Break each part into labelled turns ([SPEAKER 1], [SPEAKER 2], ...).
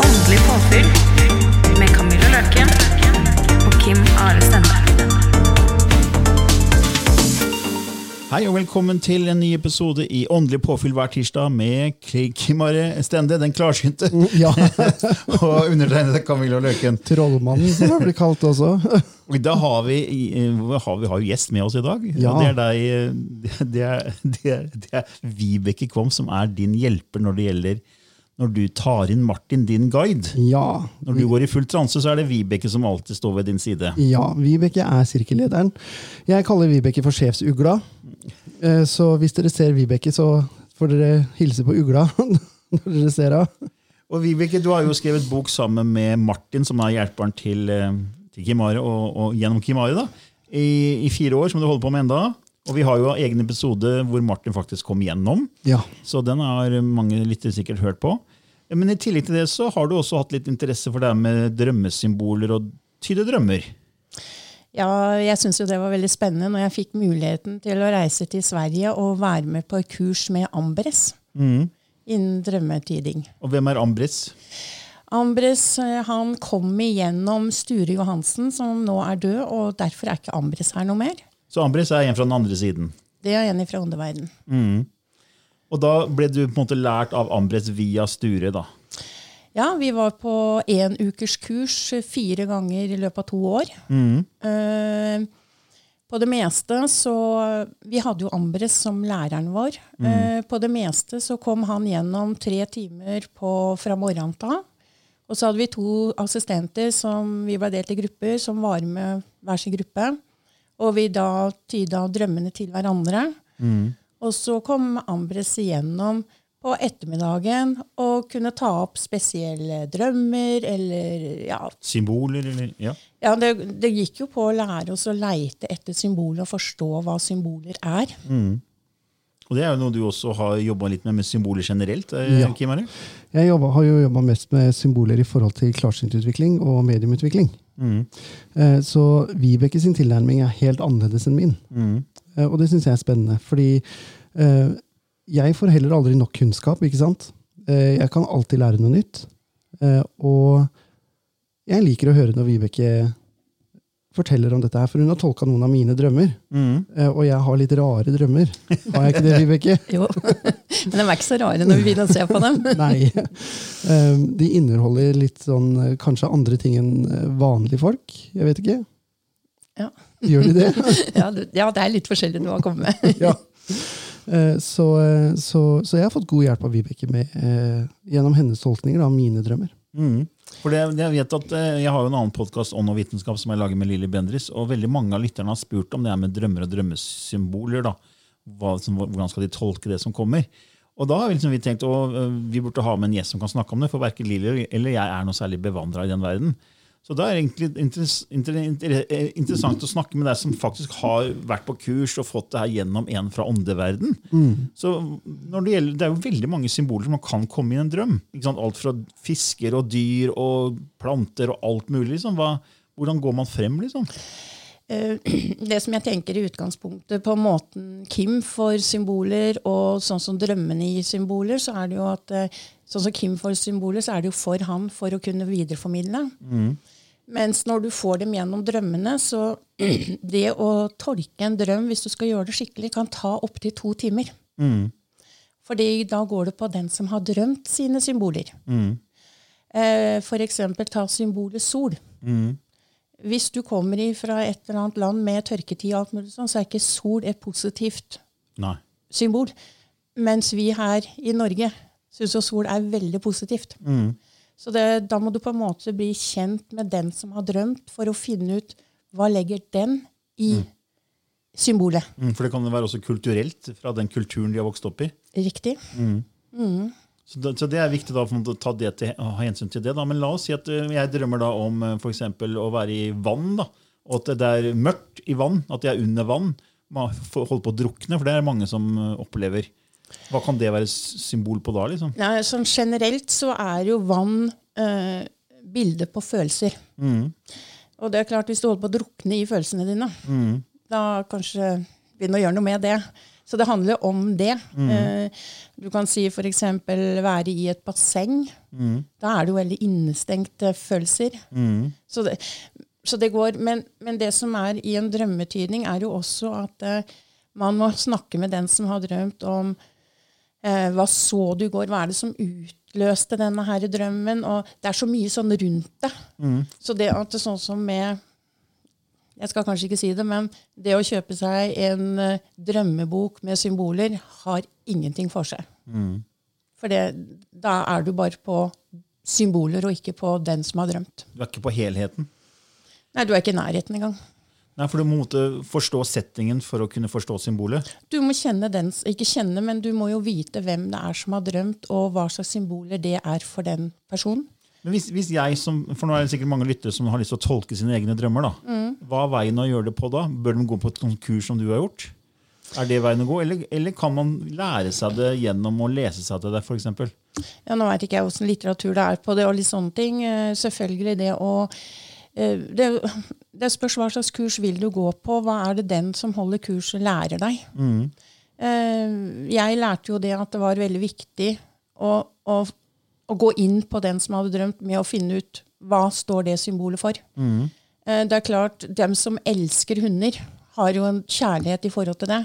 [SPEAKER 1] Åndelig påfyll med Camilla Løken og Kim Are Stende.
[SPEAKER 2] Hei og velkommen til en ny episode i Åndelig påfyll hver tirsdag med Kimare Stende, den klarsynte,
[SPEAKER 3] Mm, Ja,
[SPEAKER 2] og undertegnede Camillo Løken.
[SPEAKER 3] trollmannen som det blir kalt også.
[SPEAKER 2] Og da har vi, eh, hva har vi har jo gjest med oss i dag.
[SPEAKER 3] Ja.
[SPEAKER 2] Og det er deg, eh, det er, det er, det er Vibeke Kvam som er din hjelper når det gjelder når du tar inn Martin, din guide.
[SPEAKER 3] Ja,
[SPEAKER 2] Når du går i full transe, så er det Vibeke som alltid står ved din side.
[SPEAKER 3] ja, Vibeke er sirkellederen. Jeg kaller Vibeke for sjefsugla. Eh, Så hvis dere ser Vibeke, så får dere hilse på ugla når dere ser henne.
[SPEAKER 2] Og Vibeke, du har jo skrevet bok sammen med Martin, som er hjelperen til, eh, til Kimare, og, og gjennom Kimare, da, i, i fire år, som du holder på med enda. Og vi har jo egen episode hvor Martin faktisk kom gjennom,
[SPEAKER 3] Ja.
[SPEAKER 2] så den har mange lyttere sikkert hørt på. Men i tillegg til det så har du også hatt litt interesse for det her med drømmesymboler og tyde drømmer.
[SPEAKER 4] Ja, jeg syns jo det var veldig spennende når jeg fikk muligheten til å reise til Sverige og være med på et kurs med Ambres innen drømmetyding.
[SPEAKER 2] Og hvem er Ambris?
[SPEAKER 4] Ambres eh, han kom igjennom Sture Johansen, som nå er død, og derfor er ikke Ambres her noe mer.
[SPEAKER 2] Så Ambris er en fra den andre siden.
[SPEAKER 4] Det er en fra åndeverden.
[SPEAKER 2] Og da ble du på en måte lært av Ambris via Sture, da.
[SPEAKER 4] Ja, vi var på en ukers kurs fire ganger i løpet av to år. Eh, på det meste så Vi hadde jo Ambres som læreren vår. Eh, på det meste så kom han gjennom tre timer på, fra morgenen til. Og så hadde vi to assistenter som vi ble delt i grupper, som var med hver sin gruppe. Og vi da tyda drømmene til hverandre. Og så kom Ambres igjennom på ettermiddagen og kunne ta opp spesielle drømmer eller ja,
[SPEAKER 2] Symboler, eller Ja.
[SPEAKER 4] ja, det, det gikk jo på å lære oss å leite etter symboler og forstå hva symboler er.
[SPEAKER 2] Mm. Og det er jo noe du også har jobba litt med, med symboler generelt? eh,
[SPEAKER 3] Ja.
[SPEAKER 2] Kim Are?
[SPEAKER 3] Jeg jobba- har jo jobba mest med symboler i forhold til klarsyntutvikling og mediumutvikling. Eh, Så Vibeke sin tilnærming er helt annerledes enn min. Eh, Og det syns jeg er spennende, fordi eh, jeg får heller aldri nok kunnskap, ikke sant? Eh, Jeg kan alltid lære noe nytt. Eh, Og jeg liker å høre når Vibeke forteller om dette her, for hun har tolka noen av mine drømmer. Eh, Og jeg har litt rare drømmer. Har jeg ikke det, Vibeke?
[SPEAKER 4] Jo, Men de er ikke så rare når vi begynner å se på dem.
[SPEAKER 3] Nei. Um, De inneholder litt sånn eh, kanskje andre ting enn eh, vanlige folk. Jeg vet ikke.
[SPEAKER 4] Ja.
[SPEAKER 3] Gjør de det?
[SPEAKER 4] Ja, det- ja, det er litt forskjellig du har kommet med.
[SPEAKER 3] ja. Eh, Så, eh, så, så jeg har fått god hjelp av Vibeke med, eh, gjennom hennes tolkninger av mine drømmer.
[SPEAKER 2] Mm. For det, jeg vet at eh, jeg har jo en annen podkast, Ånd og vitenskap, som jeg lager med Lilly Bendris, og veldig mange av lytterne har spurt om det her med drømmer og drømmesymboler. da. Hva, som, hvordan skal de tolke det som kommer? Og da har vi, liksom, vi tenkt å, eh, vi burde ha med en gjest som kan snakke om det, for verken Lilly eller jeg er noe særlig bevandra i den verden. Så da er det egentlig interes- inter, inter, eh, interessant å snakke med deg som faktisk har vært på kurs og fått det her gjennom en fra åndeverden. Så når det, gjelder, det er jo veldig mange symboler som kan komme i en drøm. Ikke sant? Alt fra fisker og dyr og planter og alt mulig. Liksom. Hva, hvordan går man frem, liksom?
[SPEAKER 4] Eh, Det som jeg tenker i utgangspunktet på måten Kim får symboler, og sånn som drømmene gir symboler, så er det jo at eh, sånn som Kim får symboler, så er det jo for han for å kunne videreformidle. Mens når du får dem gjennom drømmene, så det å tolke en drøm, hvis du skal gjøre det skikkelig, kan ta opptil to timer. Fordi da går det på den som har drømt sine symboler. Eh, for eksempel ta symbolet sol. Hvis du kommer fra et eller annet land med tørketid, og alt mulig sånn, så er ikke sol et positivt
[SPEAKER 2] Nei.
[SPEAKER 4] symbol. Mens vi her i Norge syns jo sol er veldig positivt. Så det, da må du på en måte bli kjent med den som har drømt, for å finne ut hva legger den i symbolet.
[SPEAKER 2] Mm, For det kan være også kulturelt fra den kulturen de har vokst opp i.
[SPEAKER 4] Riktig?
[SPEAKER 2] Så det, så det er viktig da, for å ta det til, å ha hensyn til det. Da. Men la oss si at eh, jeg drømmer da om eh, for eksempel å være i vann, da. og at det er mørkt i vann, at jeg er under vann. Man får- holder på å drukne, for det er mange som eh, opplever. Hva kan det være s- symbol på da? liksom?
[SPEAKER 4] Nei, sånn generelt så er jo vann eh, bildet på følelser. Og det er klart, hvis du holder på å drukne i følelsene dine, da kanskje begynne å gjøre noe med det. Så det handler om det. Eh, du kan si f.eks. være i et basseng. Da er det jo veldig innestengte følelser. Så det, så det går, men, men det som er i en drømmetydning, er jo også at eh, man må snakke med den som har drømt om Eh, hva så du i går? Hva er det som utløste denne her drømmen? Og det er så mye sånn rundt det. Så det at det er sånn som med Jeg skal kanskje ikke si det, men det å kjøpe seg en eh, drømmebok med symboler har ingenting for seg. For det, da er du bare på symboler og ikke på den som har drømt.
[SPEAKER 2] Du er ikke på helheten.
[SPEAKER 4] Nei, du er ikke i nærheten engang.
[SPEAKER 2] Nei, for Du må måtte forstå settingen for å kunne forstå symbolet.
[SPEAKER 4] Du må kjenne den, s- ikke kjenne, men du må jo vite hvem det er som har drømt, og hva slags symboler det er for den personen.
[SPEAKER 2] Men hvis, hvis jeg som, for Nå er det sikkert mange lyttere som har lyst til å tolke sine egne drømmer. da. Hva er veien å gjøre det på da? Bør de gå på et sånt kurs som du har gjort? Er det veien å gå, eller, eller kan man lære seg det gjennom å lese seg til det? For eksempel?
[SPEAKER 4] Ja, nå veit ikke jeg åssen litteratur det er på det, og litt sånne ting. Eh, Selvfølgelig det å eh, det, det spørs hva slags kurs vil du gå på. Hva er det den som holder kurset, lærer deg? Eh, Jeg lærte jo det at det var veldig viktig å, å, å gå inn på den som hadde drømt, med å finne ut hva står det symbolet for. Eh, Det er klart, dem som elsker hunder, har jo en kjærlighet i forhold til det.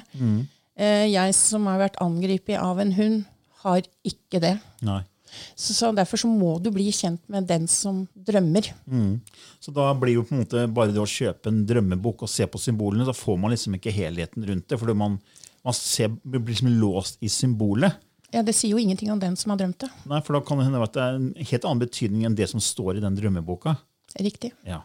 [SPEAKER 4] Eh, Jeg som har vært angrepet av en hund, har ikke det.
[SPEAKER 2] Nei.
[SPEAKER 4] Så, så derfor så må du bli kjent med den som drømmer.
[SPEAKER 2] Mm. Så da blir jo på en måte bare det å kjøpe en drømmebok og se på symbolene, da får man liksom ikke helheten rundt det. fordi man, man ser, blir liksom låst i symbolet.
[SPEAKER 4] Ja, det sier jo ingenting om den som har drømt det.
[SPEAKER 2] Nei, For da kan det hende at det er en helt annen betydning enn det som står i den drømmeboka.
[SPEAKER 4] Riktig.
[SPEAKER 2] Ja,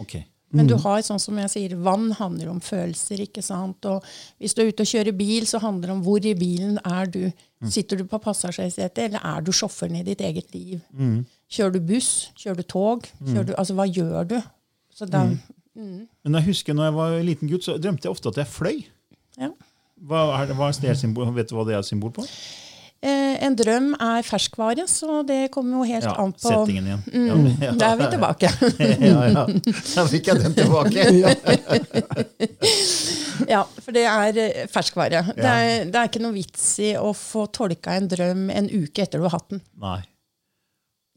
[SPEAKER 2] ok.
[SPEAKER 4] Men du har, sånn som jeg sier, vann handler om følelser. ikke sant? Og hvis du er ute og kjører bil, så handler det om hvor i bilen er du.
[SPEAKER 2] Mm.
[SPEAKER 4] Sitter du på passasjersetet, eller er du sjåføren i ditt eget liv?
[SPEAKER 2] Mm.
[SPEAKER 4] Kjører du buss? Kjører du tog? Kjører du, altså, hva gjør du? Så da,
[SPEAKER 2] Mm. Men jeg husker når jeg var liten gutt, så drømte jeg ofte at jeg fløy.
[SPEAKER 4] ja.
[SPEAKER 2] Hva er det, hva er det symbol, vet du hva det er symbol på?
[SPEAKER 4] eh, en drøm er ferskvare, så det kommer jo helt
[SPEAKER 2] Ja,
[SPEAKER 4] an på
[SPEAKER 2] settingen igjen.
[SPEAKER 4] Mm.
[SPEAKER 2] Ja,
[SPEAKER 4] Da er vi tilbake.
[SPEAKER 2] ja, ja. Da fikk jeg den tilbake.
[SPEAKER 4] Ja, for det er eh, ferskvare. Det, er, det er ikke noe vits i å få tolka en drøm en uke etter du har hatt den.
[SPEAKER 2] Nei.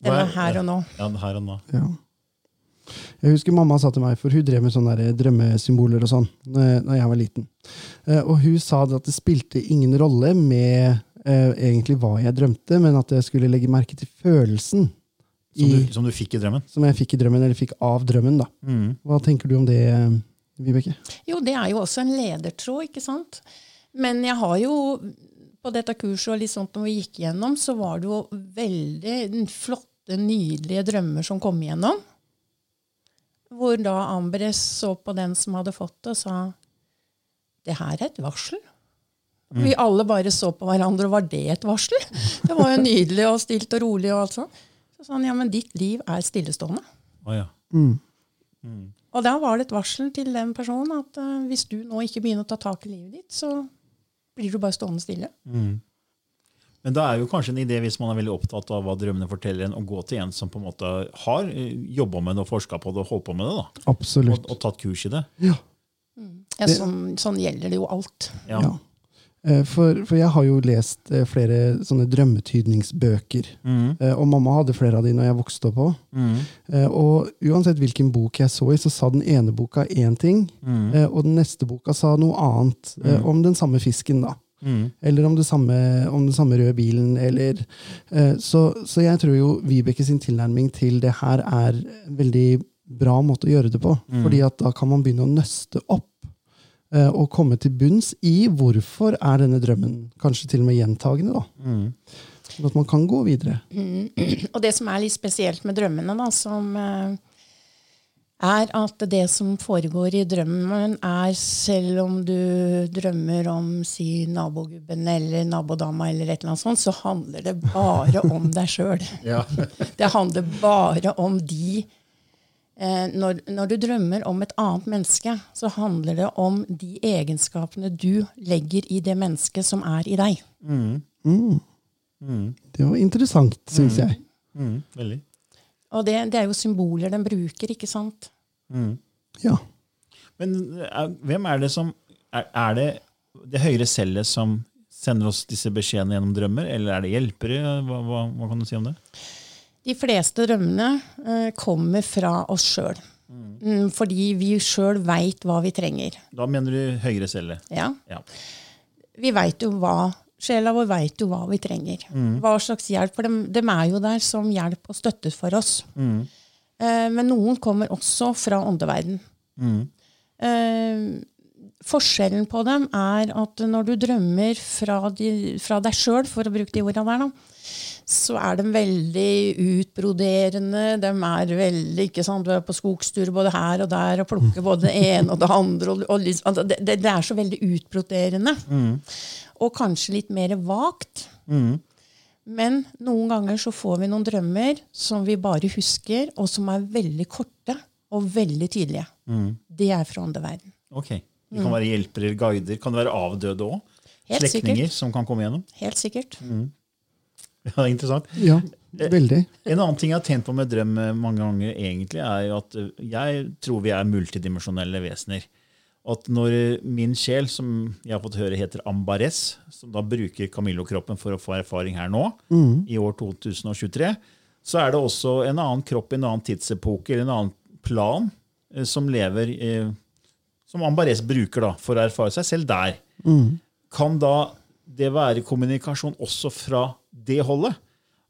[SPEAKER 4] Den
[SPEAKER 2] Hva
[SPEAKER 4] er her og nå.
[SPEAKER 2] Ja, den er her og nå.
[SPEAKER 3] Ja. Jeg husker mamma sa til meg, for hun drev med sånne der drømmesymboler og sånn eh, da jeg var liten. Eh, Og hun sa det at det spilte ingen rolle med eh, egentlig hva jeg drømte, men at jeg skulle legge merke til følelsen
[SPEAKER 2] Som
[SPEAKER 3] i,
[SPEAKER 2] du, som du fikk i drømmen.
[SPEAKER 3] som jeg fikk i drømmen, eller fikk av drømmen. da. Hva tenker du om det, eh, Vibeke?
[SPEAKER 4] Jo, det er jo også en ledertråd, ikke sant? Men jeg har jo på dette kurset og litt sånt når vi gikk gjennom, så var det jo veldig flotte, nydelige drømmer som kom igjennom. Hvor da Ambres så på den som hadde fått det, og sa det her er et varsel. Vi alle bare så på hverandre, og var det et varsel? Det var jo nydelig og stilt og rolig. og alt sånt. Så sa han ja, men ditt liv er stillestående.
[SPEAKER 2] Å, ja.
[SPEAKER 4] Og da var det et varsel til den personen at eh, hvis du nå ikke begynner å ta tak i livet ditt, så blir du bare stående stille.
[SPEAKER 2] Men det er jo kanskje en idé hvis man er veldig opptatt av hva drømmene forteller en, å gå til en som på en måte har jobba med det og forska på det og holdt på med det. da. Og,
[SPEAKER 3] Absolutt.
[SPEAKER 2] og tatt kurs i det.
[SPEAKER 4] Ja, sånn, sånn gjelder det jo alt.
[SPEAKER 2] Ja.
[SPEAKER 3] Ja. Eh, For, for jeg har jo lest eh, flere sånne drømmetydningsbøker. Eh, Og mamma hadde flere av de når jeg vokste opp òg. Og uansett hvilken bok jeg så i, så sa den ene boka én ting, eh, og den neste boka sa noe annet eh, om den samme fisken. da. Eller om det samme, om den samme røde bilen, eller eh, så, så jeg tror jo Vibeke sin tilnærming til det her er en veldig bra måte å gjøre det på. Fordi at da kan man begynne å nøste opp eh, og komme til bunns i hvorfor er denne drømmen kanskje til og med gjentagende. da. Sånn at man kan gå videre.
[SPEAKER 4] Og det som er litt spesielt med drømmene, da, som eh, er at det som foregår i drømmen, er selv om du drømmer om si nabogubben eller nabodama, eller et eller annet sånt, så handler det bare om deg sjøl. Det handler bare om de eh, når, når du drømmer om et annet menneske, så handler det om de egenskapene du legger i det mennesket som er i deg.
[SPEAKER 3] Det var interessant, syns jeg.
[SPEAKER 2] Mm, veldig.
[SPEAKER 4] Og det, det er jo symboler den bruker, ikke sant?
[SPEAKER 3] Ja.
[SPEAKER 2] Men er, hvem er det som er, er det det høyere cellet som sender oss disse beskjedene gjennom drømmer, eller er det hjelpere? Hva, hva, hva kan du si om det?
[SPEAKER 4] De fleste drømmene eh, kommer fra oss sjøl. Mm, fordi vi sjøl veit hva vi trenger.
[SPEAKER 2] Da mener du høyere celle.
[SPEAKER 4] Ja?
[SPEAKER 2] Ja.
[SPEAKER 4] Vi veit jo hva Sjela vår veit jo hva vi trenger. Hva slags hjelp. For dem, dem er jo der som hjelp og støtte for oss. Eh, men noen kommer også fra åndeverden. Eh, forskjellen på dem er at når du drømmer fra, de, fra deg sjøl, for å bruke de orda der, da, så er de veldig utbroderende. De er veldig ikke sant, Du er på skogstur både her og der og plukker både det ene og det andre. Og, og liksom, altså, det, det, det er så veldig utbroderende. Og kanskje litt mer vagt. Men noen ganger så får vi noen drømmer som vi bare husker, og som er veldig korte og veldig tydelige. Det er fra åndeverden.
[SPEAKER 2] Ok. Det kan være hjelpere eller guider. Kan det være avdøde òg?
[SPEAKER 4] Mm. Helt
[SPEAKER 2] Slektninger
[SPEAKER 4] sikkert.
[SPEAKER 2] som kan komme gjennom?
[SPEAKER 4] Helt sikkert.
[SPEAKER 2] Ja, interessant.
[SPEAKER 3] ja. Veldig.
[SPEAKER 2] En annen ting jeg har tenkt på med drøm eh, mange ganger, egentlig, er jo at eh, jeg tror vi er multidimensjonelle vesener. At når eh, min sjel, som jeg har fått høre heter Ambares, som da bruker Camillo-kroppen for å få erfaring her nå, i år 2023, så er det også en annen kropp i en annen tidsepoke eller en annen plan eh, som lever eh, Som Ambares bruker da, for å erfare seg selv der. Kan da det være kommunikasjon også fra det holdet?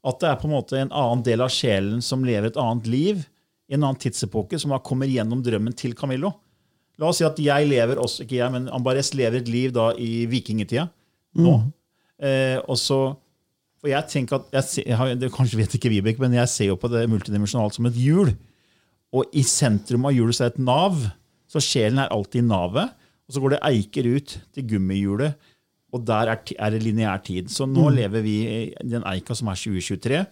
[SPEAKER 2] At det er på en måte en annen del av sjelen som lever et annet liv i en annen tidsepoke, som da kommer gjennom drømmen til Camillo. La oss si at jeg lever også, ikke jeg, men Ambares lever et liv da i vikingtida. Nå. Eh, og så, for jeg tenker at, jeg ser, jeg har, det Kanskje vet ikke Vibeke, men jeg ser jo på det multidimensjonalt som et hjul. Og i sentrum av hjulet så er det et nav. Så sjelen er alltid i navet. Og så går det eiker ut til gummihjulet, og der er, ti- er det lineær tid. Så nå lever vi i den eika som er 2023.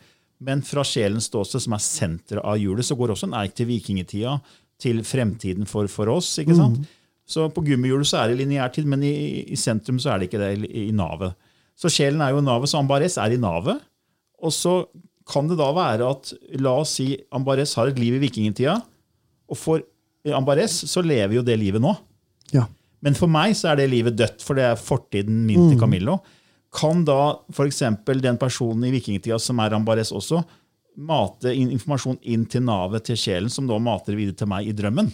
[SPEAKER 2] Men fra sjelens ståsted, som er senteret av hjulet, så går også en eik til vikingtida, til fremtiden for, for oss. ikke sant? Så på gummihjulet så er det lineær tid, men i, i sentrum så er det ikke det, i, i navet. Så sjelen er jo i navet, så Ambares er i navet. Og så kan det da være at, la oss si, Ambares har et liv i vikingtida, og for Ambares så lever jo det livet nå.
[SPEAKER 3] Ja.
[SPEAKER 2] Men for meg så er det livet dødt, for det er fortiden min til Camillo. Kan da f.eks. den personen i vikingtida som er Ambares også, mate in- informasjon inn til navet til sjelen, som da mater videre til meg i drømmen?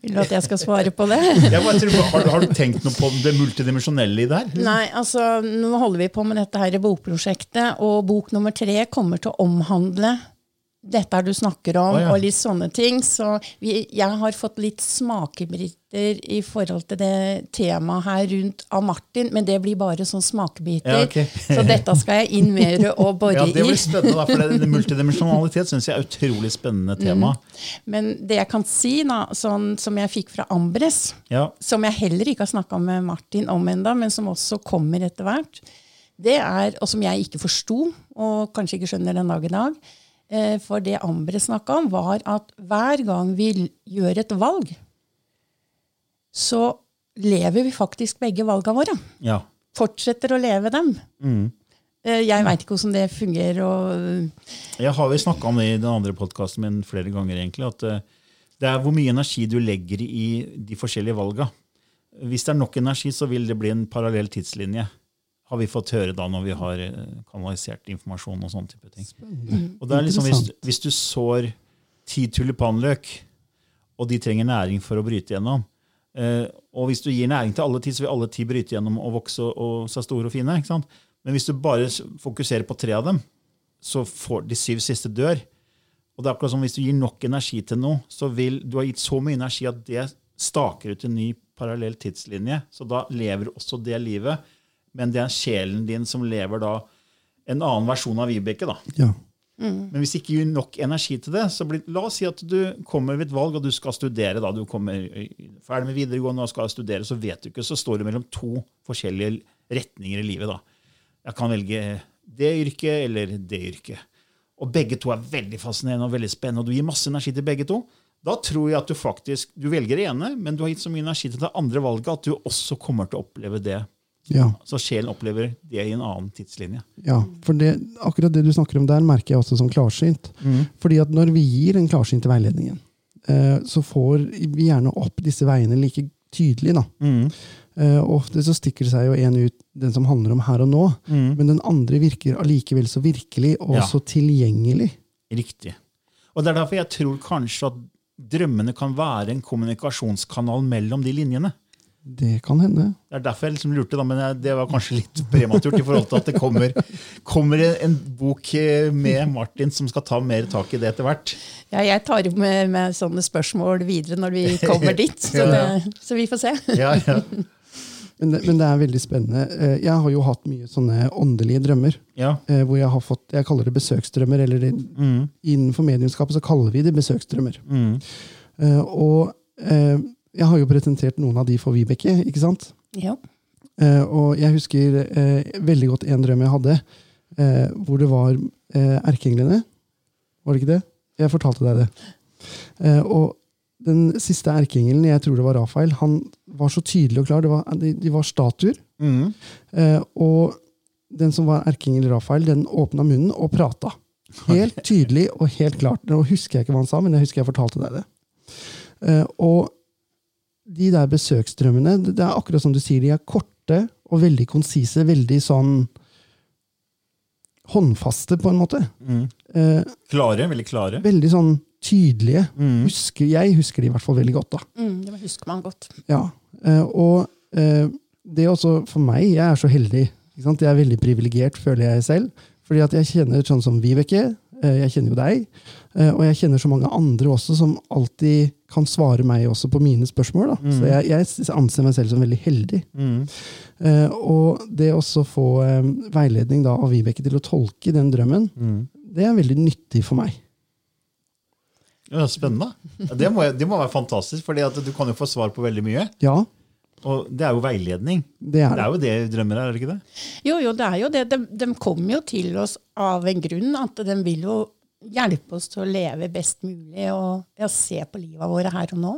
[SPEAKER 4] Vil du at jeg skal svare på det?
[SPEAKER 2] Jeg bare tror, har, har du tenkt noe på det multidimensjonelle i det her?
[SPEAKER 4] Nei, altså, nå holder vi på med dette her i bokprosjektet, og bok nummer tre kommer til å omhandle dette her du snakker om,
[SPEAKER 2] Å, ja.
[SPEAKER 4] og litt sånne ting. Så vi, jeg har fått litt smakebiter i forhold til det temaet her rundt av Martin, men det blir bare sånn smakebiter.
[SPEAKER 2] Ja, ok.
[SPEAKER 4] så dette skal jeg inn mer og bore
[SPEAKER 2] Ja, Det
[SPEAKER 4] i.
[SPEAKER 2] blir spennende, da, for det- det multidimensjonalitet syns jeg er et utrolig spennende tema.
[SPEAKER 4] Mm. Men det jeg kan si, da, sånn som jeg fikk fra Ambres,
[SPEAKER 2] Ja,
[SPEAKER 4] som jeg heller ikke har snakka med Martin om enda, men som også kommer etter hvert, det er, og som jeg ikke forsto, og kanskje ikke skjønner den dag i dag eh, For det Ambre snakka om, var at hver gang vi l- gjør et valg, så lever vi faktisk begge valga våre.
[SPEAKER 2] ja.
[SPEAKER 4] Fortsetter å leve dem. Eh, Jeg veit ikke hvordan det fungerer. og...
[SPEAKER 2] Jeg har jo snakka om det i den andre podkasten min flere ganger. egentlig, at eh, Det er hvor mye energi du legger i de forskjellige valga. Hvis det er nok energi, så vil det bli en parallell tidslinje. Har vi fått høre da når vi har eh, kanalisert informasjon og sånne type ting. Og det er liksom, hvis,
[SPEAKER 3] Interessant.
[SPEAKER 2] hvis du sår ti tulipanløk, og de trenger næring for å bryte gjennom, eh, Eh, og hvis du gir næring til alle ti, så vil alle ti bryte gjennom og vokse og, og seg store og fine. ikke sant? Men hvis du bare s- fokuserer på tre av dem, så får de syv siste dør. Og det er akkurat som hvis du gir nok energi til noe, så vil du ha gitt så mye energi at det staker ut en ny parallell tidslinje. Så da lever også det livet, men det er sjelen din som lever da en annen versjon av Vibeke. da.
[SPEAKER 3] Ja.
[SPEAKER 2] Men hvis ikke gir nok energi til det, så blir, la oss si at du kommer ved et valg og du skal studere. da, Du kommer ø, ferdig med videregående og skal studere, så vet du ikke, så står du mellom to forskjellige retninger i livet. da. Jeg kan velge det yrket eller det yrket. Og begge to er veldig fascinerende og veldig spennende, og du gir masse energi til begge to. Da tror jeg at du faktisk du velger det ene, men du har gitt så mye energi til det andre valget at du også kommer til å oppleve det.
[SPEAKER 3] Ja.
[SPEAKER 2] Så sjelen opplever det i en annen tidslinje.
[SPEAKER 3] Ja, for det, akkurat det du snakker om der, merker jeg også som klarsynt. Fordi at når vi gir den klarsynte veiledningen, eh, så får vi gjerne opp disse veiene like tydelig. da. Eh, og ofte så stikker det seg jo en ut, den som handler om her og nå, men den andre virker allikevel så virkelig og
[SPEAKER 2] Ja.
[SPEAKER 3] så tilgjengelig.
[SPEAKER 2] Riktig. Og det er derfor jeg tror kanskje at drømmene kan være en kommunikasjonskanal mellom de linjene.
[SPEAKER 3] Det kan hende.
[SPEAKER 2] Det er derfor jeg liksom lurte, da, men jeg- det var kanskje litt prematurt i forhold til at det kommer, kommer en bok eh, med Martin som skal ta mer tak i det etter hvert.
[SPEAKER 4] Ja, jeg tar med, med sånne spørsmål videre når vi kommer dit, så,
[SPEAKER 2] Ja.
[SPEAKER 4] det, så vi får se.
[SPEAKER 2] Ja, ja.
[SPEAKER 3] Men det, men det er veldig spennende. Eh, jeg har jo hatt mye sånne åndelige drømmer.
[SPEAKER 2] ja. mm,
[SPEAKER 3] eh, hvor jeg har fått Jeg kaller det besøksdrømmer, eller det, innenfor mediumskapet så kaller vi det besøksdrømmer. Eh, og eh, jeg har jo presentert noen av de for Vibeke, ikke sant?
[SPEAKER 4] Ja.
[SPEAKER 3] Eh, og jeg husker eh, veldig godt en drøm jeg hadde, eh, hvor det var eh, erkeenglene. Var det ikke det? Jeg fortalte deg det. Eh, og den siste erkeengelen, jeg tror det var Rafael, han var så tydelig og klar. Det var, de, de var statuer.
[SPEAKER 2] Mm.
[SPEAKER 3] Eh, og den som var erkeengel Rafael, den åpna munnen og prata. Helt tydelig og helt klart. Nå husker jeg ikke hva han sa, men jeg husker jeg fortalte deg det. Eh, og de der besøksdrømmene, det det er akkurat som du sier, de er korte og veldig konsise. Veldig sånn håndfaste, på en måte. Eh,
[SPEAKER 2] Klare, veldig klare.
[SPEAKER 3] veldig sånn tydelige. Husker, jeg husker de i hvert fall veldig godt, da.
[SPEAKER 4] Mm, det husker man godt.
[SPEAKER 3] Ja, eh, og eh, det er også for meg, jeg er så heldig. Ikke sant? Jeg er veldig privilegert, føler jeg selv. Fordi at jeg kjenner sånn som Vibeke, eh, jeg kjenner jo deg, eh, og jeg kjenner så mange andre også som alltid kan svare meg også på mine spørsmål. Da.
[SPEAKER 2] Mm.
[SPEAKER 3] Så jeg, jeg anser meg selv som veldig heldig. Eh, og det også få eh, veiledning da, av Vibeke til å tolke den drømmen,
[SPEAKER 2] Mm.
[SPEAKER 3] det er veldig nyttig for meg.
[SPEAKER 2] Ja, spennende. Ja, Det må, det må være fantastisk, for du kan jo få svar på veldig mye.
[SPEAKER 3] Ja,
[SPEAKER 2] Og det er jo veiledning.
[SPEAKER 3] det er
[SPEAKER 2] Det
[SPEAKER 3] det.
[SPEAKER 2] er jo det drømmer er, er det ikke det?
[SPEAKER 4] Jo, jo, det er jo det. De, de kommer jo til oss av en grunn. At de vil jo hjelpe oss til å leve best mulig og ja, se på livet våre her og nå.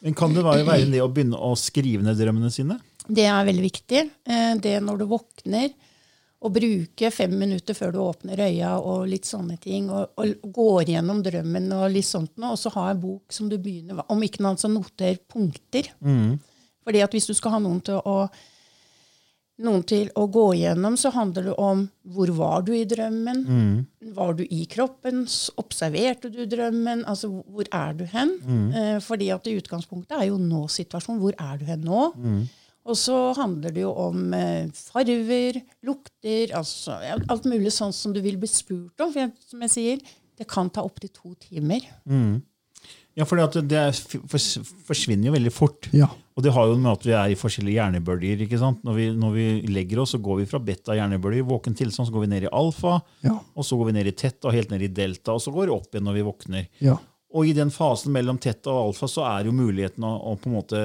[SPEAKER 2] Men kan det være være det å begynne å skrive ned drømmene sine?
[SPEAKER 4] Det er veldig viktig. Eh, Det når du våkner, å bruke fem minutter før du åpner øya og litt sånne ting, og, og går gjennom drømmen og litt sånt noe, og så ha en bok som du begynner Om ikke noe annet, så noter punkter. Fordi at hvis du skal ha noen til å noen til å gå igjennom, så handler det om hvor var du i drømmen? Var du i kroppen? S- Observerte du drømmen? Altså, hvor er du hen? Eh, fordi at i utgangspunktet er jo nå-situasjonen. Hvor er du hen nå? Og så handler det jo om eh, farver, lukter, altså ja, alt mulig sånn som du vil bli spurt om. For jeg, som jeg sier, det kan ta opptil to timer.
[SPEAKER 2] Ja, for det er- fors- forsvinner jo veldig fort.
[SPEAKER 3] Ja.
[SPEAKER 2] Og det har jo med at vi er i forskjellige hjernebølger. ikke sant? Når vi, når vi legger oss, så går vi fra beta-hjernebølge, våken tilstand, så går vi ned i alfa,
[SPEAKER 3] Ja.
[SPEAKER 2] og så går vi ned i tetta, og helt ned i delta, og så går det opp igjen når vi våkner.
[SPEAKER 3] Ja.
[SPEAKER 2] Og i den fasen mellom tetta og alfa så er jo muligheten å, å på en måte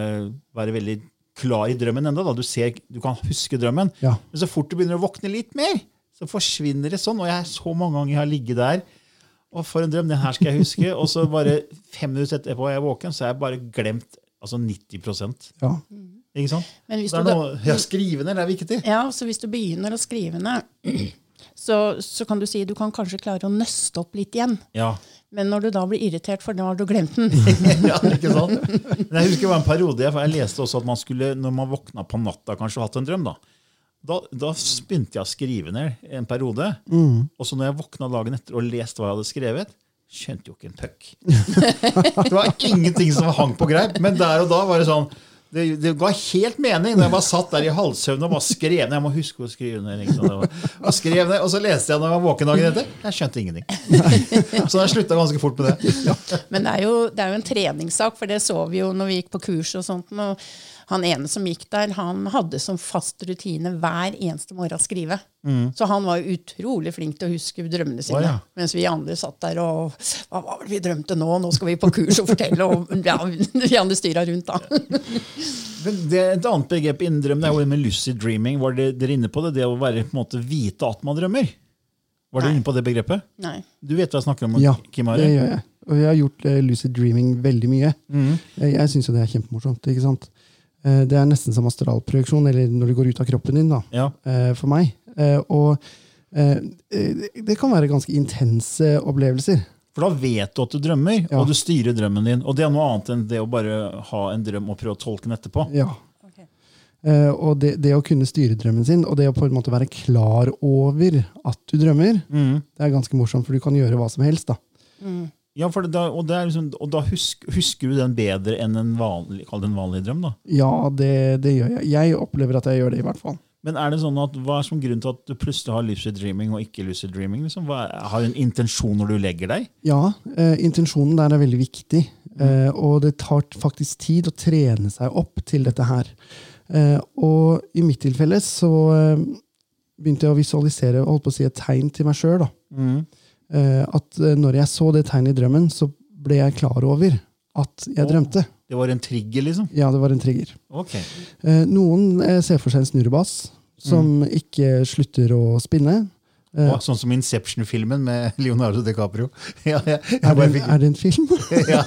[SPEAKER 2] være veldig klar i drømmen enda. Da. Du, ser, du kan huske drømmen.
[SPEAKER 3] Ja.
[SPEAKER 2] Men så fort du begynner å våkne litt mer, så forsvinner det sånn. Og jeg er så mange ganger jeg har ligget der. Og for en drøm, den her skal jeg huske. Og så bare fem minutter etterpå er jeg våken, så har jeg bare glemt altså 90
[SPEAKER 3] ja.
[SPEAKER 2] Ikke sant?
[SPEAKER 4] Men hvis
[SPEAKER 2] det er
[SPEAKER 4] du da-
[SPEAKER 2] noe, ja, skrive ned det er viktig.
[SPEAKER 4] Ja, så hvis du begynner å skrive ned, så, så kan du si du kan kanskje klare å nøste opp litt igjen.
[SPEAKER 2] Ja.
[SPEAKER 4] Men når du da blir irritert, for da har du glemt den.
[SPEAKER 2] ja, ikke sant? Men jeg husker det var en periode jeg, jeg leste også at man skulle, når man våkna på natta kanskje og hatt en drøm, da, da, da begynte jeg å skrive ned en periode. Og så når jeg våkna dagen etter og leste hva jeg hadde skrevet, skjønte jo ikke en puck. det var ingenting som hang på greip, men der og da var det sånn Det, det ga helt mening da jeg bare satt der i halvsøvn og bare skrev ned. Jeg må huske å skrive ned. Ikke sant? Det var- Og, skrev ned, og så leste jeg når jeg var våken dagen etter. Jeg skjønte ingenting. Så jeg slutta ganske fort med det.
[SPEAKER 4] Men det er, jo, det er jo en treningssak, for det så vi jo når vi gikk på kurs og sånt. Og han ene som gikk der, han hadde som fast rutine hver eneste morgen å skrive. Så han var jo utrolig flink til å huske drømmene sine.
[SPEAKER 2] Mm. Å, ja.
[SPEAKER 4] Mens vi andre satt der og Hva var det vi drømte nå? Nå skal vi på kurs og fortelle. Og ja, vi andre styra rundt, da.
[SPEAKER 2] Men det, et annet begrep innen drøm det er jo det med lucid dreaming. Var det, dere inne på det? Det å være, på en måte, vite at man drømmer? Var dere inne på det begrepet?
[SPEAKER 4] Nei.
[SPEAKER 2] Du vet hva jeg snakker om?
[SPEAKER 3] Ja,
[SPEAKER 2] Kim
[SPEAKER 3] det
[SPEAKER 2] Are?
[SPEAKER 3] gjør jeg. Og jeg har gjort eh, lucid dreaming veldig mye. Jeg, jeg syns jo det er kjempemorsomt. ikke sant? Eh, det er nesten som astralprojeksjon, eller når du går ut av kroppen din, da,
[SPEAKER 2] Ja.
[SPEAKER 3] eh, for meg. Eh, og eh, eh, det kan være ganske intense opplevelser.
[SPEAKER 2] For da vet du at du drømmer,
[SPEAKER 3] Ja.
[SPEAKER 2] og du styrer drømmen din. Og det er noe annet enn det å bare ha en drøm og prøve å tolke den etterpå.
[SPEAKER 3] Ja. Eh, og det, det å kunne styre drømmen sin, og det å på en måte være klar over at du drømmer, det er ganske morsomt, for du kan gjøre hva som helst. da.
[SPEAKER 2] Ja, for det, da- og, det er liksom, og da husk, husker du den bedre enn en vanlig, kall det en vanlig drøm. da.
[SPEAKER 3] Ja, det, det gjør jeg. Jeg opplever at jeg gjør det, i hvert fall.
[SPEAKER 2] Men er det sånn at, hva er som grunn til at du plutselig har lucid dreaming og ikke lucid dreaming? Liksom? Hva, er- har du en intensjon når du legger deg?
[SPEAKER 3] Ja, eh, intensjonen der er veldig viktig. Eh, og det tar t- faktisk tid å trene seg opp til dette her. Eh, og i mitt tilfelle så eh, begynte jeg å visualisere holdt på å si et tegn til meg sjøl. Eh, at eh, når jeg så det tegnet i drømmen, så ble jeg klar over at jeg
[SPEAKER 2] Åh.
[SPEAKER 3] drømte.
[SPEAKER 2] Det var en trigger, liksom?
[SPEAKER 3] Ja, det var en trigger.
[SPEAKER 2] Ok.
[SPEAKER 3] Eh, noen eh, ser for seg en snurrebass som ikke slutter å spinne.
[SPEAKER 2] Å, sånn som Inception-filmen med Leonardo DiCaprio. ja, ja, jeg
[SPEAKER 3] Er
[SPEAKER 2] bare
[SPEAKER 3] det,
[SPEAKER 2] fikk,
[SPEAKER 3] en, er det en film?
[SPEAKER 2] ja.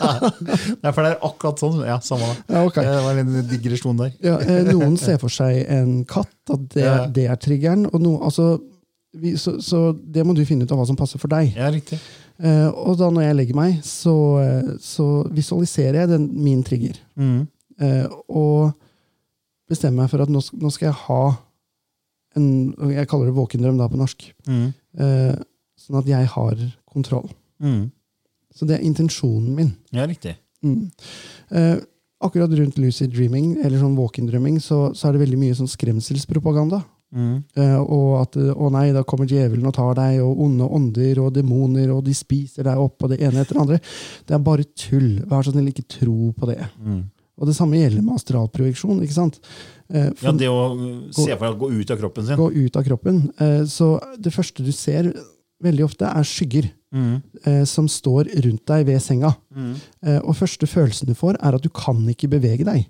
[SPEAKER 2] Nei, for det er akkurat sånn. Ja, samme det.
[SPEAKER 3] ja, ok.
[SPEAKER 2] Det var en digresjon der.
[SPEAKER 3] Ja, eh, noen ser for seg en katt, at det,
[SPEAKER 2] Ja.
[SPEAKER 3] det er triggeren. Og no, altså, vi, så, så det må du finne ut av hva som passer for deg.
[SPEAKER 2] Ja, riktig.
[SPEAKER 3] Eh, og da når jeg legger meg, så, eh, så visualiserer jeg den, min trigger.
[SPEAKER 2] Mm,
[SPEAKER 3] Eh, og bestemmer meg for at nå, sk- nå skal jeg ha en Jeg kaller det våkendrøm da på norsk.
[SPEAKER 2] Mm.
[SPEAKER 3] Eh, sånn at jeg har kontroll.
[SPEAKER 2] Mm.
[SPEAKER 3] Så det er intensjonen min.
[SPEAKER 2] Ja, riktig.
[SPEAKER 3] Mm. Eh, akkurat rundt lucid dreaming, eller sånn våkendrømming, så, så er det veldig mye sånn skremselspropaganda.
[SPEAKER 2] Mm,
[SPEAKER 3] Eh, og at eh, 'å nei, da kommer djevelen og tar deg', og onde ånder og demoner, og de spiser deg opp, og det ene etter det andre. Det er bare tull. Vær så snill, ikke tro på det.
[SPEAKER 2] mm.
[SPEAKER 3] Og det samme gjelder med astralprojeksjon. ikke sant? Eh,
[SPEAKER 2] Ja,
[SPEAKER 3] for
[SPEAKER 2] Det å uh, se for deg å gå ut av kroppen sin.
[SPEAKER 3] Gå ut av kroppen. Eh, så det første du ser veldig ofte, er skygger.
[SPEAKER 2] Mm,
[SPEAKER 3] Eh, som står rundt deg ved senga. Eh, og første følelsen du får, er at du kan ikke bevege deg.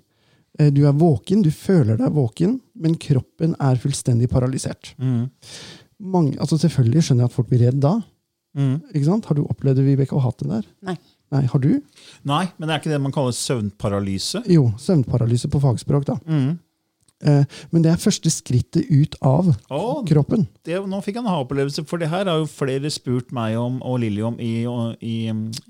[SPEAKER 3] Eh, du er våken, du føler deg våken, men kroppen er fullstendig paralysert.
[SPEAKER 2] mm,
[SPEAKER 3] Mange, altså selvfølgelig skjønner jeg at folk blir redd da.
[SPEAKER 2] mm.
[SPEAKER 3] Ikke sant? Har du opplevd det, Vibeke, og hatt det der?
[SPEAKER 4] Nei.
[SPEAKER 3] Nei, har du?
[SPEAKER 2] Nei, men det er ikke det man kaller søvnparalyse.
[SPEAKER 3] Jo, søvnparalyse på fagspråk, da.
[SPEAKER 2] Mm.
[SPEAKER 3] Eh, men det er første skrittet ut av
[SPEAKER 2] Å,
[SPEAKER 3] kroppen.
[SPEAKER 2] det, nå fikk jeg en ha-opplevelse, for det her har jo flere spurt meg om, og Lilly om i, i,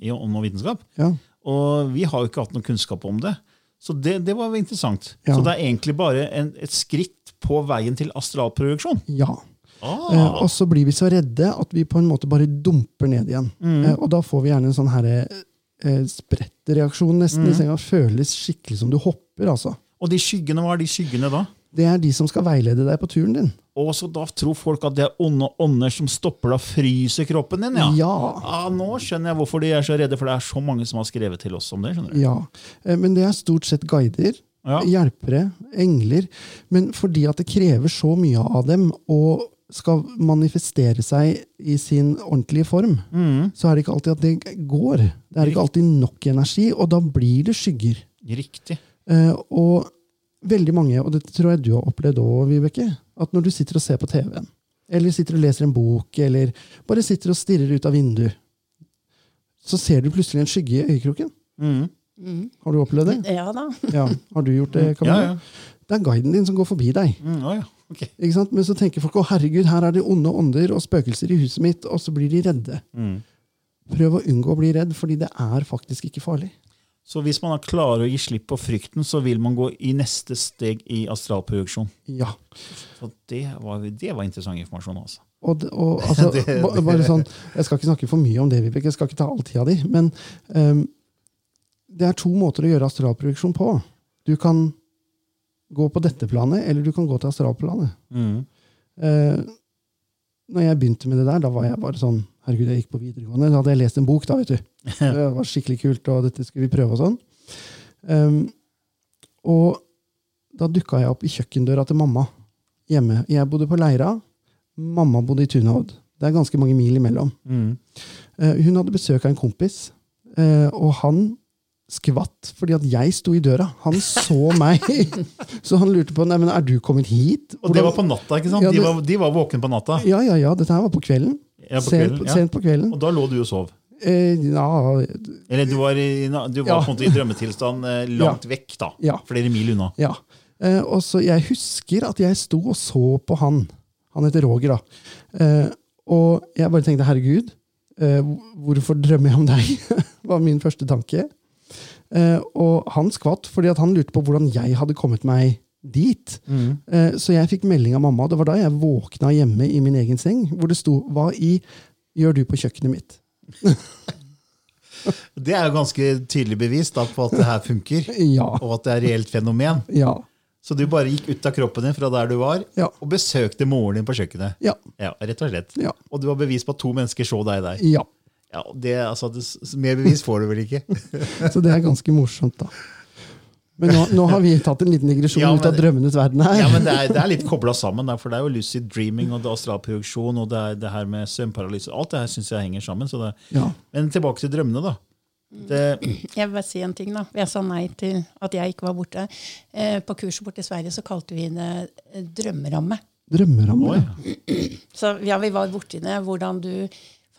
[SPEAKER 2] i Ånd og vitenskap.
[SPEAKER 3] Ja.
[SPEAKER 2] Og vi har jo ikke hatt noen kunnskap om det. Så det, det var jo interessant.
[SPEAKER 3] Ja.
[SPEAKER 2] Så det er egentlig bare en, et skritt på veien til astralproduksjon.
[SPEAKER 3] ja.
[SPEAKER 2] Ah,
[SPEAKER 3] Eh, og så blir vi så redde at vi på en måte bare dumper ned igjen.
[SPEAKER 2] Mm.
[SPEAKER 3] Eh, og da får vi gjerne en sånn her, eh, sprettreaksjon nesten
[SPEAKER 2] Mm.
[SPEAKER 3] i senga. Føles skikkelig som du hopper, altså.
[SPEAKER 2] og de skyggene, hva er de skyggene da?
[SPEAKER 3] Det er de som skal veilede deg på turen din.
[SPEAKER 2] Og så da tror folk at det er onde ånder som stopper deg og fryser kroppen din, ja.
[SPEAKER 3] Ja.
[SPEAKER 2] Ah, nå skjønner jeg hvorfor de er så redde, for det er så mange som har skrevet til oss om det. skjønner du?
[SPEAKER 3] Ja, eh, Men det er stort sett guider,
[SPEAKER 2] Ja.
[SPEAKER 3] hjelpere, engler. Men fordi at det krever så mye av dem og skal manifestere seg i sin ordentlige form,
[SPEAKER 2] Mm.
[SPEAKER 3] så er det ikke alltid at det går. Det er ikke alltid nok energi, og da blir det skygger.
[SPEAKER 2] Riktig.
[SPEAKER 3] Eh, og veldig mange, og det tror jeg du har opplevd òg, Vibeke, at når du sitter og ser på TV-en, eller sitter og leser en bok, eller bare sitter og stirrer ut av vinduet, så ser du plutselig en skygge i øyekroken.
[SPEAKER 2] Mm.
[SPEAKER 3] Har du opplevd det?
[SPEAKER 4] Ja da.
[SPEAKER 3] Ja, Har du gjort det, Camilla?
[SPEAKER 2] Ja, ja.
[SPEAKER 3] Det er guiden din som går forbi deg.
[SPEAKER 2] Mm, å ja. ok.
[SPEAKER 3] Ikke sant? Men så tenker folk 'Å, herregud, her er det onde ånder og spøkelser i huset mitt', og så blir de redde. Prøv å unngå å bli redd, fordi det er faktisk ikke farlig.
[SPEAKER 2] Så hvis man er klarer å gi slipp på frykten, så vil man gå i neste steg i astralproduksjon.
[SPEAKER 3] Ja.
[SPEAKER 2] Så det var, det var interessant informasjon. altså.
[SPEAKER 3] Og, d- og altså, ba- bare sånn, Jeg skal ikke snakke for mye om det, Vibeke. Jeg skal ikke ta all tida di. Men ehm, det er to måter å gjøre astralproduksjon på. Du kan Gå på dette planet, eller du kan gå til astralplanet. Eh, når jeg begynte med det der, da var jeg bare sånn Herregud, jeg gikk på videregående. Da hadde jeg lest en bok, da, vet du. Det var skikkelig kult, og dette skulle vi prøve og sånn. Ehm, og da dukka jeg opp i kjøkkendøra til mamma hjemme. Jeg bodde på Leira, mamma bodde i Tunhovd. Det er ganske mange mil imellom. Eh, hun hadde besøk av en kompis, eh, og han skvatt fordi at jeg sto i døra. Han så meg! Så han lurte på Nei, men er du kommet hit.
[SPEAKER 2] Og det var på natta, ikke sant?
[SPEAKER 3] Ja,
[SPEAKER 2] De
[SPEAKER 3] det-
[SPEAKER 2] var, de var våkne på natta.
[SPEAKER 3] Ja, ja, ja. Dette her var på kvelden.
[SPEAKER 2] Ja, på
[SPEAKER 3] sent,
[SPEAKER 2] kvelden, ja.
[SPEAKER 3] sent på kvelden.
[SPEAKER 2] Og da lå du og sov.
[SPEAKER 3] Eh, ja,
[SPEAKER 2] Eller du var, i, na- du var
[SPEAKER 3] Ja.
[SPEAKER 2] på en måte i drømmetilstand eh, langt vekk, da.
[SPEAKER 3] Ja.
[SPEAKER 2] Flere mil unna.
[SPEAKER 3] ja. Eh, og så jeg husker at jeg sto og så på han. Han heter Roger, da. Eh, og jeg bare tenkte 'herregud, eh, hvor- hvorfor drømmer jeg om deg?' var min første tanke. Eh, og han skvatt fordi at han lurte på hvordan jeg hadde kommet meg dit.
[SPEAKER 2] Mm.
[SPEAKER 3] Eh, så jeg fikk melding av mamma, og det var da jeg våkna hjemme i min egen seng, hvor det sto 'hva i gjør du på kjøkkenet mitt'?
[SPEAKER 2] Det er jo ganske tydelig bevis da, på at det her funker,
[SPEAKER 3] Ja.
[SPEAKER 2] og at det er et reelt fenomen.
[SPEAKER 3] Ja.
[SPEAKER 2] Så du bare gikk ut av kroppen din fra der du var,
[SPEAKER 3] Ja.
[SPEAKER 2] og besøkte moren din på kjøkkenet.
[SPEAKER 3] Ja.
[SPEAKER 2] Ja, rett og slett.
[SPEAKER 3] Ja.
[SPEAKER 2] Og du har bevis på at to mennesker så deg der.
[SPEAKER 3] ja.
[SPEAKER 2] Ja, og det, altså, det, s- mer bevis får du vel ikke?
[SPEAKER 3] Så det er ganske morsomt, da. Men nå, nå har vi tatt en liten digresjon
[SPEAKER 2] Ja, men-
[SPEAKER 3] ut av drømmenes verden her.
[SPEAKER 2] Ja, men Det er, det er litt kobla sammen, da, for det er jo lucid dreaming og det er astralproduksjon og det, er det her med søvnparalyse. Alt det her syns jeg henger sammen. Så det,
[SPEAKER 3] Ja.
[SPEAKER 2] Men tilbake til drømmene, da. Det,
[SPEAKER 4] Jeg vil bare si en ting, da. Jeg sa nei til at jeg ikke var borte. Eh, på kurset borte i Sverige så kalte vi det eh, drømmeramme.
[SPEAKER 3] Drømmeramme.
[SPEAKER 2] Oi.
[SPEAKER 4] Så ja, vi var borti det, hvordan du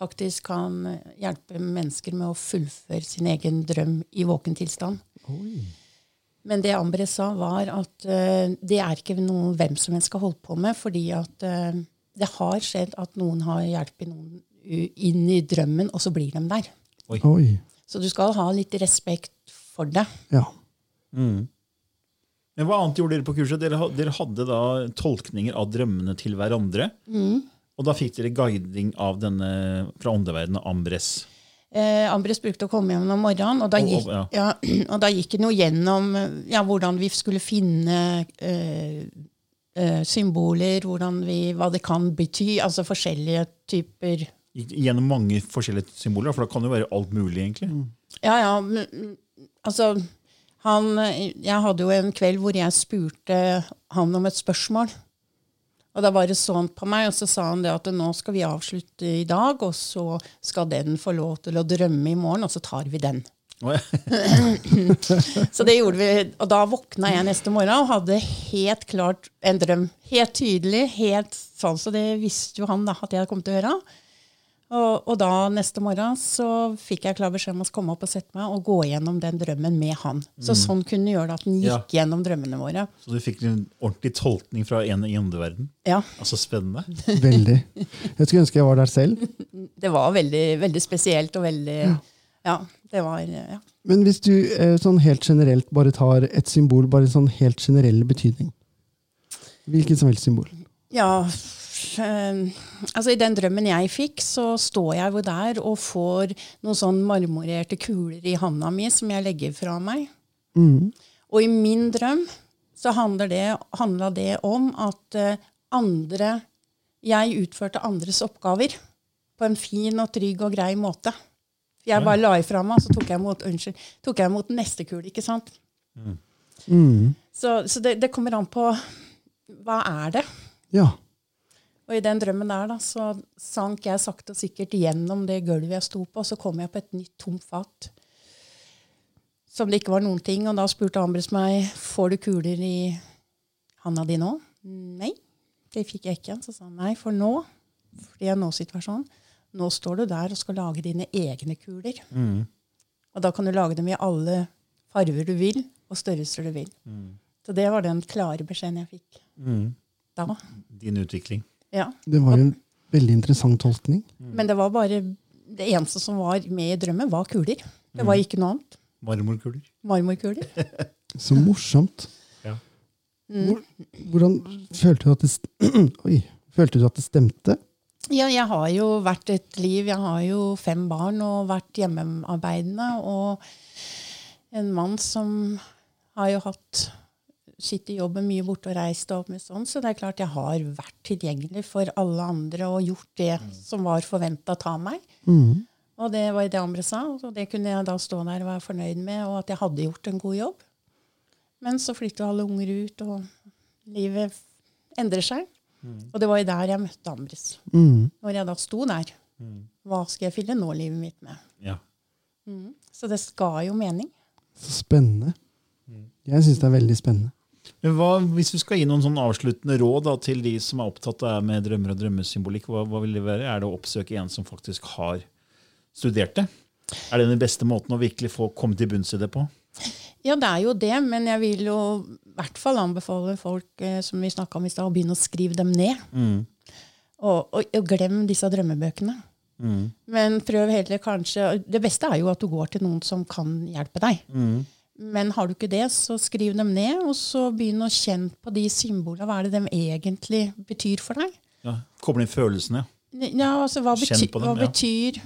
[SPEAKER 4] faktisk kan eh, hjelpe mennesker med å fullføre sin egen drøm i våken tilstand. Men det Ambre sa, var at eh, det er ikke noe hvem som helst skal holde på med, fordi at eh, det har skjedd at noen har hjulpet noen u- inn i drømmen, og så blir de der.
[SPEAKER 3] Oi.
[SPEAKER 4] Så du skal ha litt respekt for det.
[SPEAKER 3] Ja.
[SPEAKER 2] men hva annet gjorde dere på kurset? Dere, ha- dere hadde da tolkninger av drømmene til hverandre. Og da fikk dere guiding av denne fra åndeverdenen, Ambres.
[SPEAKER 4] Eh, Ambres brukte å komme hjem om morgenen, og da
[SPEAKER 2] Og-
[SPEAKER 4] gikk,
[SPEAKER 2] og-
[SPEAKER 4] ja, og da gikk han jo gjennom eh, ja, hvordan vi skulle finne eh, eh, symboler, hvordan vi, hva det kan bety, altså forskjellige typer
[SPEAKER 2] Gikk Gjennom mange forskjellige symboler, for da kan det jo være alt mulig, egentlig.
[SPEAKER 4] Ja, ja, men, mm, altså han, eh, Jeg hadde jo en kveld hvor jeg spurte han om et spørsmål. Og da bare så han på meg, og så sa han det at nå skal vi avslutte i dag, og så skal den få lov til å drømme i morgen, og så tar vi den.
[SPEAKER 2] Og jeg-
[SPEAKER 4] Så det gjorde vi, og da våkna jeg neste morgen og hadde helt klart en drøm. Helt tydelig, helt sånn, så det visste jo han da at jeg kom til å gjøre. Og, og da neste morgen så fikk jeg klar beskjed om å komme opp og sette meg og gå gjennom den drømmen med han. Så sånn kunne vi gjøre det at han
[SPEAKER 2] Ja.
[SPEAKER 4] gikk gjennom drømmene våre.
[SPEAKER 2] Så du fikk en ordentlig tolkning fra en i åndeverdenen.
[SPEAKER 4] Ja,
[SPEAKER 2] Altså spennende.
[SPEAKER 3] Veldig. Jeg skulle ønske jeg var der selv.
[SPEAKER 4] det var veldig, veldig spesielt og veldig, ja, det var, ja.
[SPEAKER 3] Men hvis du eh, sånn helt generelt bare tar et symbol, bare sånn helt generell betydning Hvilket som helst symbol.
[SPEAKER 4] Ja, f- eh, altså I den drømmen jeg fikk, så står jeg jo der og får noen sånn marmorerte kuler i handa mi som jeg legger fra meg. Og i min drøm så handler det, handla det om at eh, andre Jeg utførte andres oppgaver på en fin og trygg og grei måte. Jeg bare la ifra meg, og så tok jeg imot, unnskyld, tok jeg imot neste kule, ikke sant? Så, så det, det kommer an på hva er det?
[SPEAKER 3] Ja.
[SPEAKER 4] Og i den drømmen der da, så sank jeg sakte og sikkert gjennom det gulvet jeg sto på, og så kom jeg på et nytt tomt fat. Som det ikke var noen ting. Og da spurte Ambres meg får du kuler i handa di nå. Nei, det fikk jeg ikke. Så sa han nei, for nå, fordi jeg er nå-situasjonen, nå står du der og skal lage dine egne kuler. Og da kan du lage dem i alle farger du vil, og størrelser du vil. Så det var den klare beskjeden jeg fikk da.
[SPEAKER 2] Din utvikling.
[SPEAKER 4] Ja.
[SPEAKER 3] Det var jo en veldig interessant tolkning.
[SPEAKER 4] Men det var bare det eneste som var med i drømmen, var kuler. Det var ikke noe annet.
[SPEAKER 2] Marmorkuler.
[SPEAKER 4] Marmorkuler.
[SPEAKER 3] Så morsomt.
[SPEAKER 2] Ja.
[SPEAKER 3] Hvor, hvordan følte du at det st- Oi. Følte du at det stemte?
[SPEAKER 4] Ja, jeg har jo vært et liv. Jeg har jo fem barn og vært hjemmearbeidende. Og en mann som har jo hatt sitt i jobben mye borte og reist og alt med sånn, så det er klart jeg har vært tilgjengelig for alle andre og gjort det som var forventa av meg. Og det var jo det andre sa, og det kunne jeg da stå der og være fornøyd med, og at jeg hadde gjort en god jobb. Men så flytta alle unger ut, og livet endrer seg. Og det var jo der jeg møtte Ambris. Når jeg da sto der. Hva skal jeg fylle nå livet mitt med?
[SPEAKER 2] Ja.
[SPEAKER 4] Så det skal jo mening.
[SPEAKER 3] Så spennende. Jeg syns det er veldig spennende.
[SPEAKER 2] Men hva, hvis du skal gi noen sånn avsluttende råd da, til de som er opptatt av med drømmer og drømmesymbolikk, hva, hva vil det være? Er det å oppsøke en som faktisk har studert det? Er det den beste måten å virkelig få komme til bunns i det på?
[SPEAKER 4] Ja, det er jo det, men jeg vil jo i hvert fall anbefale folk eh, som vi snakket om i stad, å begynne å skrive dem ned. Og, og, og glem disse drømmebøkene. Men prøv heller kanskje Det beste er jo at du går til noen som kan hjelpe deg. Men har du ikke det, så skriv dem ned, og så begynn å kjenne på de symbolene. Hva er det de egentlig betyr for deg?
[SPEAKER 2] Ja. Koble inn følelsene. ja.
[SPEAKER 4] Ja, altså, hva,
[SPEAKER 2] Kjenn
[SPEAKER 4] bety
[SPEAKER 2] på dem,
[SPEAKER 4] hva
[SPEAKER 2] ja.
[SPEAKER 4] betyr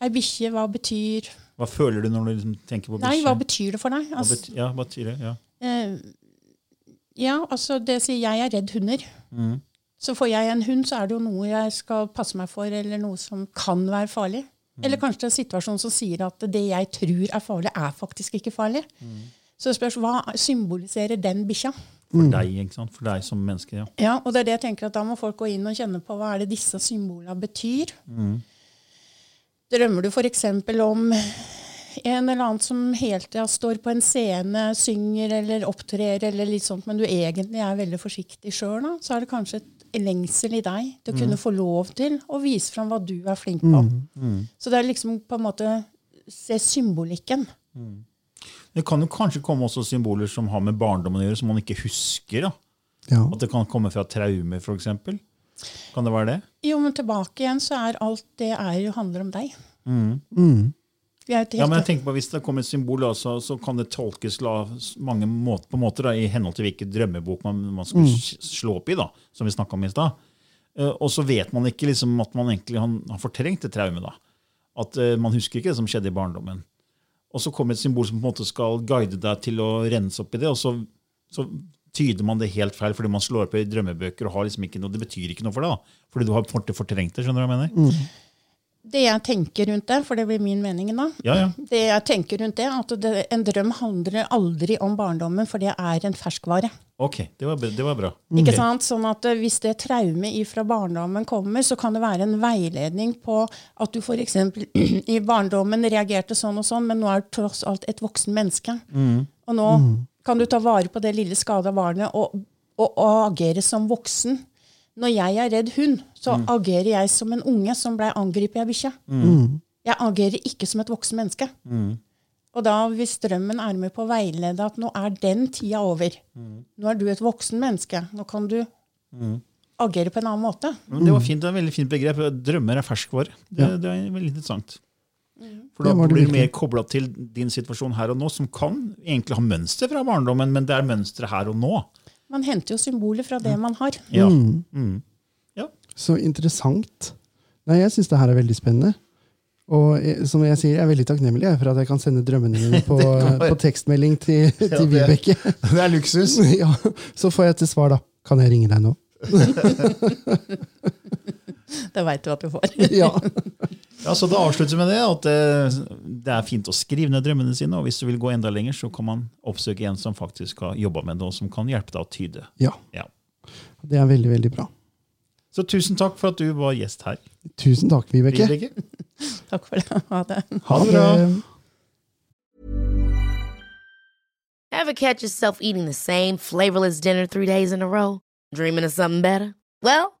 [SPEAKER 4] ei bikkje? Hva betyr
[SPEAKER 2] Hva føler du når du liksom tenker på
[SPEAKER 4] Nei, hva
[SPEAKER 2] bikkje?
[SPEAKER 4] betyr det for deg?
[SPEAKER 2] Hva
[SPEAKER 4] Altså,
[SPEAKER 2] bet- ja, hva betyr det? Ja.
[SPEAKER 4] Eh, ja, altså det sier jeg er redd hunder.
[SPEAKER 2] Mm.
[SPEAKER 4] Så får jeg en hund, så er det jo noe jeg skal passe meg for, eller noe som kan være farlig.
[SPEAKER 2] Mm.
[SPEAKER 4] Eller kanskje det er en situasjon som sier at det jeg tror er farlig, er faktisk ikke farlig.
[SPEAKER 2] Mm.
[SPEAKER 4] Så det spørs hva symboliserer den bikkja.
[SPEAKER 2] For deg, ikke sant? For deg som menneske, ja.
[SPEAKER 4] Ja, og det er det jeg tenker at da må folk gå inn og kjenne på hva er det disse symbolene betyr. Drømmer du f.eks. om en eller annen som hele tida står på en scene, synger eller opptrer, eller litt sånt, men du egentlig er veldig forsiktig sjøl, så er det kanskje et lengsel i deg til å kunne få lov til å vise fram hva du er flink på. Så det er liksom på en måte Se symbolikken.
[SPEAKER 2] Det kan jo kanskje komme også symboler som har med barndommen å gjøre, som man ikke husker. da.
[SPEAKER 3] Ja.
[SPEAKER 2] At det kan komme fra traumer, f.eks. Kan det være det?
[SPEAKER 4] Jo, men tilbake igjen så er alt det er jo handler om deg. Vi er jo et
[SPEAKER 2] Ja, men
[SPEAKER 4] helt
[SPEAKER 2] jeg tenker på Hvis det kommer et symbol, da, så, så kan det tolkes la, mange måter, på måter da, i henhold til hvilken drømmebok man, man skulle s- slå opp i. da, som vi snakket om i sted. Eh, og så vet man ikke liksom, at man egentlig har, har fortrengt et traume. da. At eh, Man husker ikke det som skjedde i barndommen. Og så kommer et symbol som på en måte skal guide deg til å rense opp i det, og så, så tyder man det helt feil fordi man slår opp i drømmebøker og har liksom ikke noe, det betyr ikke noe for deg. da, Fordi du har fort- fortrengt det. skjønner du hva jeg mener?
[SPEAKER 4] det jeg tenker rundt det, for det blir min mening da,
[SPEAKER 2] Ja, ja.
[SPEAKER 4] det jeg tenker rundt det, at det, en drøm handler aldri om barndommen, for det er en ferskvare.
[SPEAKER 2] Ok, det var, det var bra.
[SPEAKER 4] Ikke
[SPEAKER 2] Ok.
[SPEAKER 4] sant? Sånn at eh, Hvis det traumet fra barndommen kommer, så kan det være en veiledning på at du f.eks. i barndommen reagerte sånn og sånn, men nå er du tross alt et voksen menneske. Og nå kan du ta vare på det lille skada barnet og, og, og agere som voksen. Når jeg er redd hund, så agerer jeg som en unge som ble angrepet av bikkje. Jeg agerer ikke som et voksen menneske. Og da, hvis drømmen er med på å veilede at nå er den tida over, nå er du et voksen menneske, nå kan du agere på en annen måte.
[SPEAKER 2] Men Det var
[SPEAKER 3] Mm.
[SPEAKER 2] fint, det er et veldig fint begrep. Drømmer er ferskvare. Det, det er veldig interessant. For da
[SPEAKER 3] Det var det
[SPEAKER 2] blir du
[SPEAKER 3] virkelig.
[SPEAKER 2] mer kobla til din situasjon her og nå, som kan egentlig ha mønster fra barndommen, men det er mønstre her og nå. Mm.
[SPEAKER 4] Man henter jo symboler fra det man har.
[SPEAKER 2] Ja.
[SPEAKER 3] Mm. Så interessant. Nei, jeg syns det her er veldig spennende. Og eh, som jeg sier, jeg er veldig takknemlig jeg, for at jeg kan sende drømmene mine på,
[SPEAKER 2] går.
[SPEAKER 3] på tekstmelding til, til Vibeke.
[SPEAKER 2] Det er luksus.
[SPEAKER 3] Ja, så får jeg til svar, da. Kan jeg ringe deg nå?
[SPEAKER 4] Det veit du at du får.
[SPEAKER 3] Ja.
[SPEAKER 2] Ja, så Da avslutter vi med det, at eh, det er fint å skrive ned drømmene sine. Og hvis du vil gå enda lenger, så kan man oppsøke en som faktisk har jobba med det, og som kan hjelpe deg å tyde.
[SPEAKER 3] ja.
[SPEAKER 2] Ja.
[SPEAKER 3] Det er veldig, veldig bra.
[SPEAKER 2] Så tusen takk for at du var gjest her.
[SPEAKER 3] Tusen takk, Vibeke. Eh,
[SPEAKER 2] Vibeke.
[SPEAKER 4] Takk for det. Ha det.
[SPEAKER 2] Ha det bra.
[SPEAKER 5] Ever catch yourself eating the same flavorless dinner three days in a row? Dreaming of something better? Well,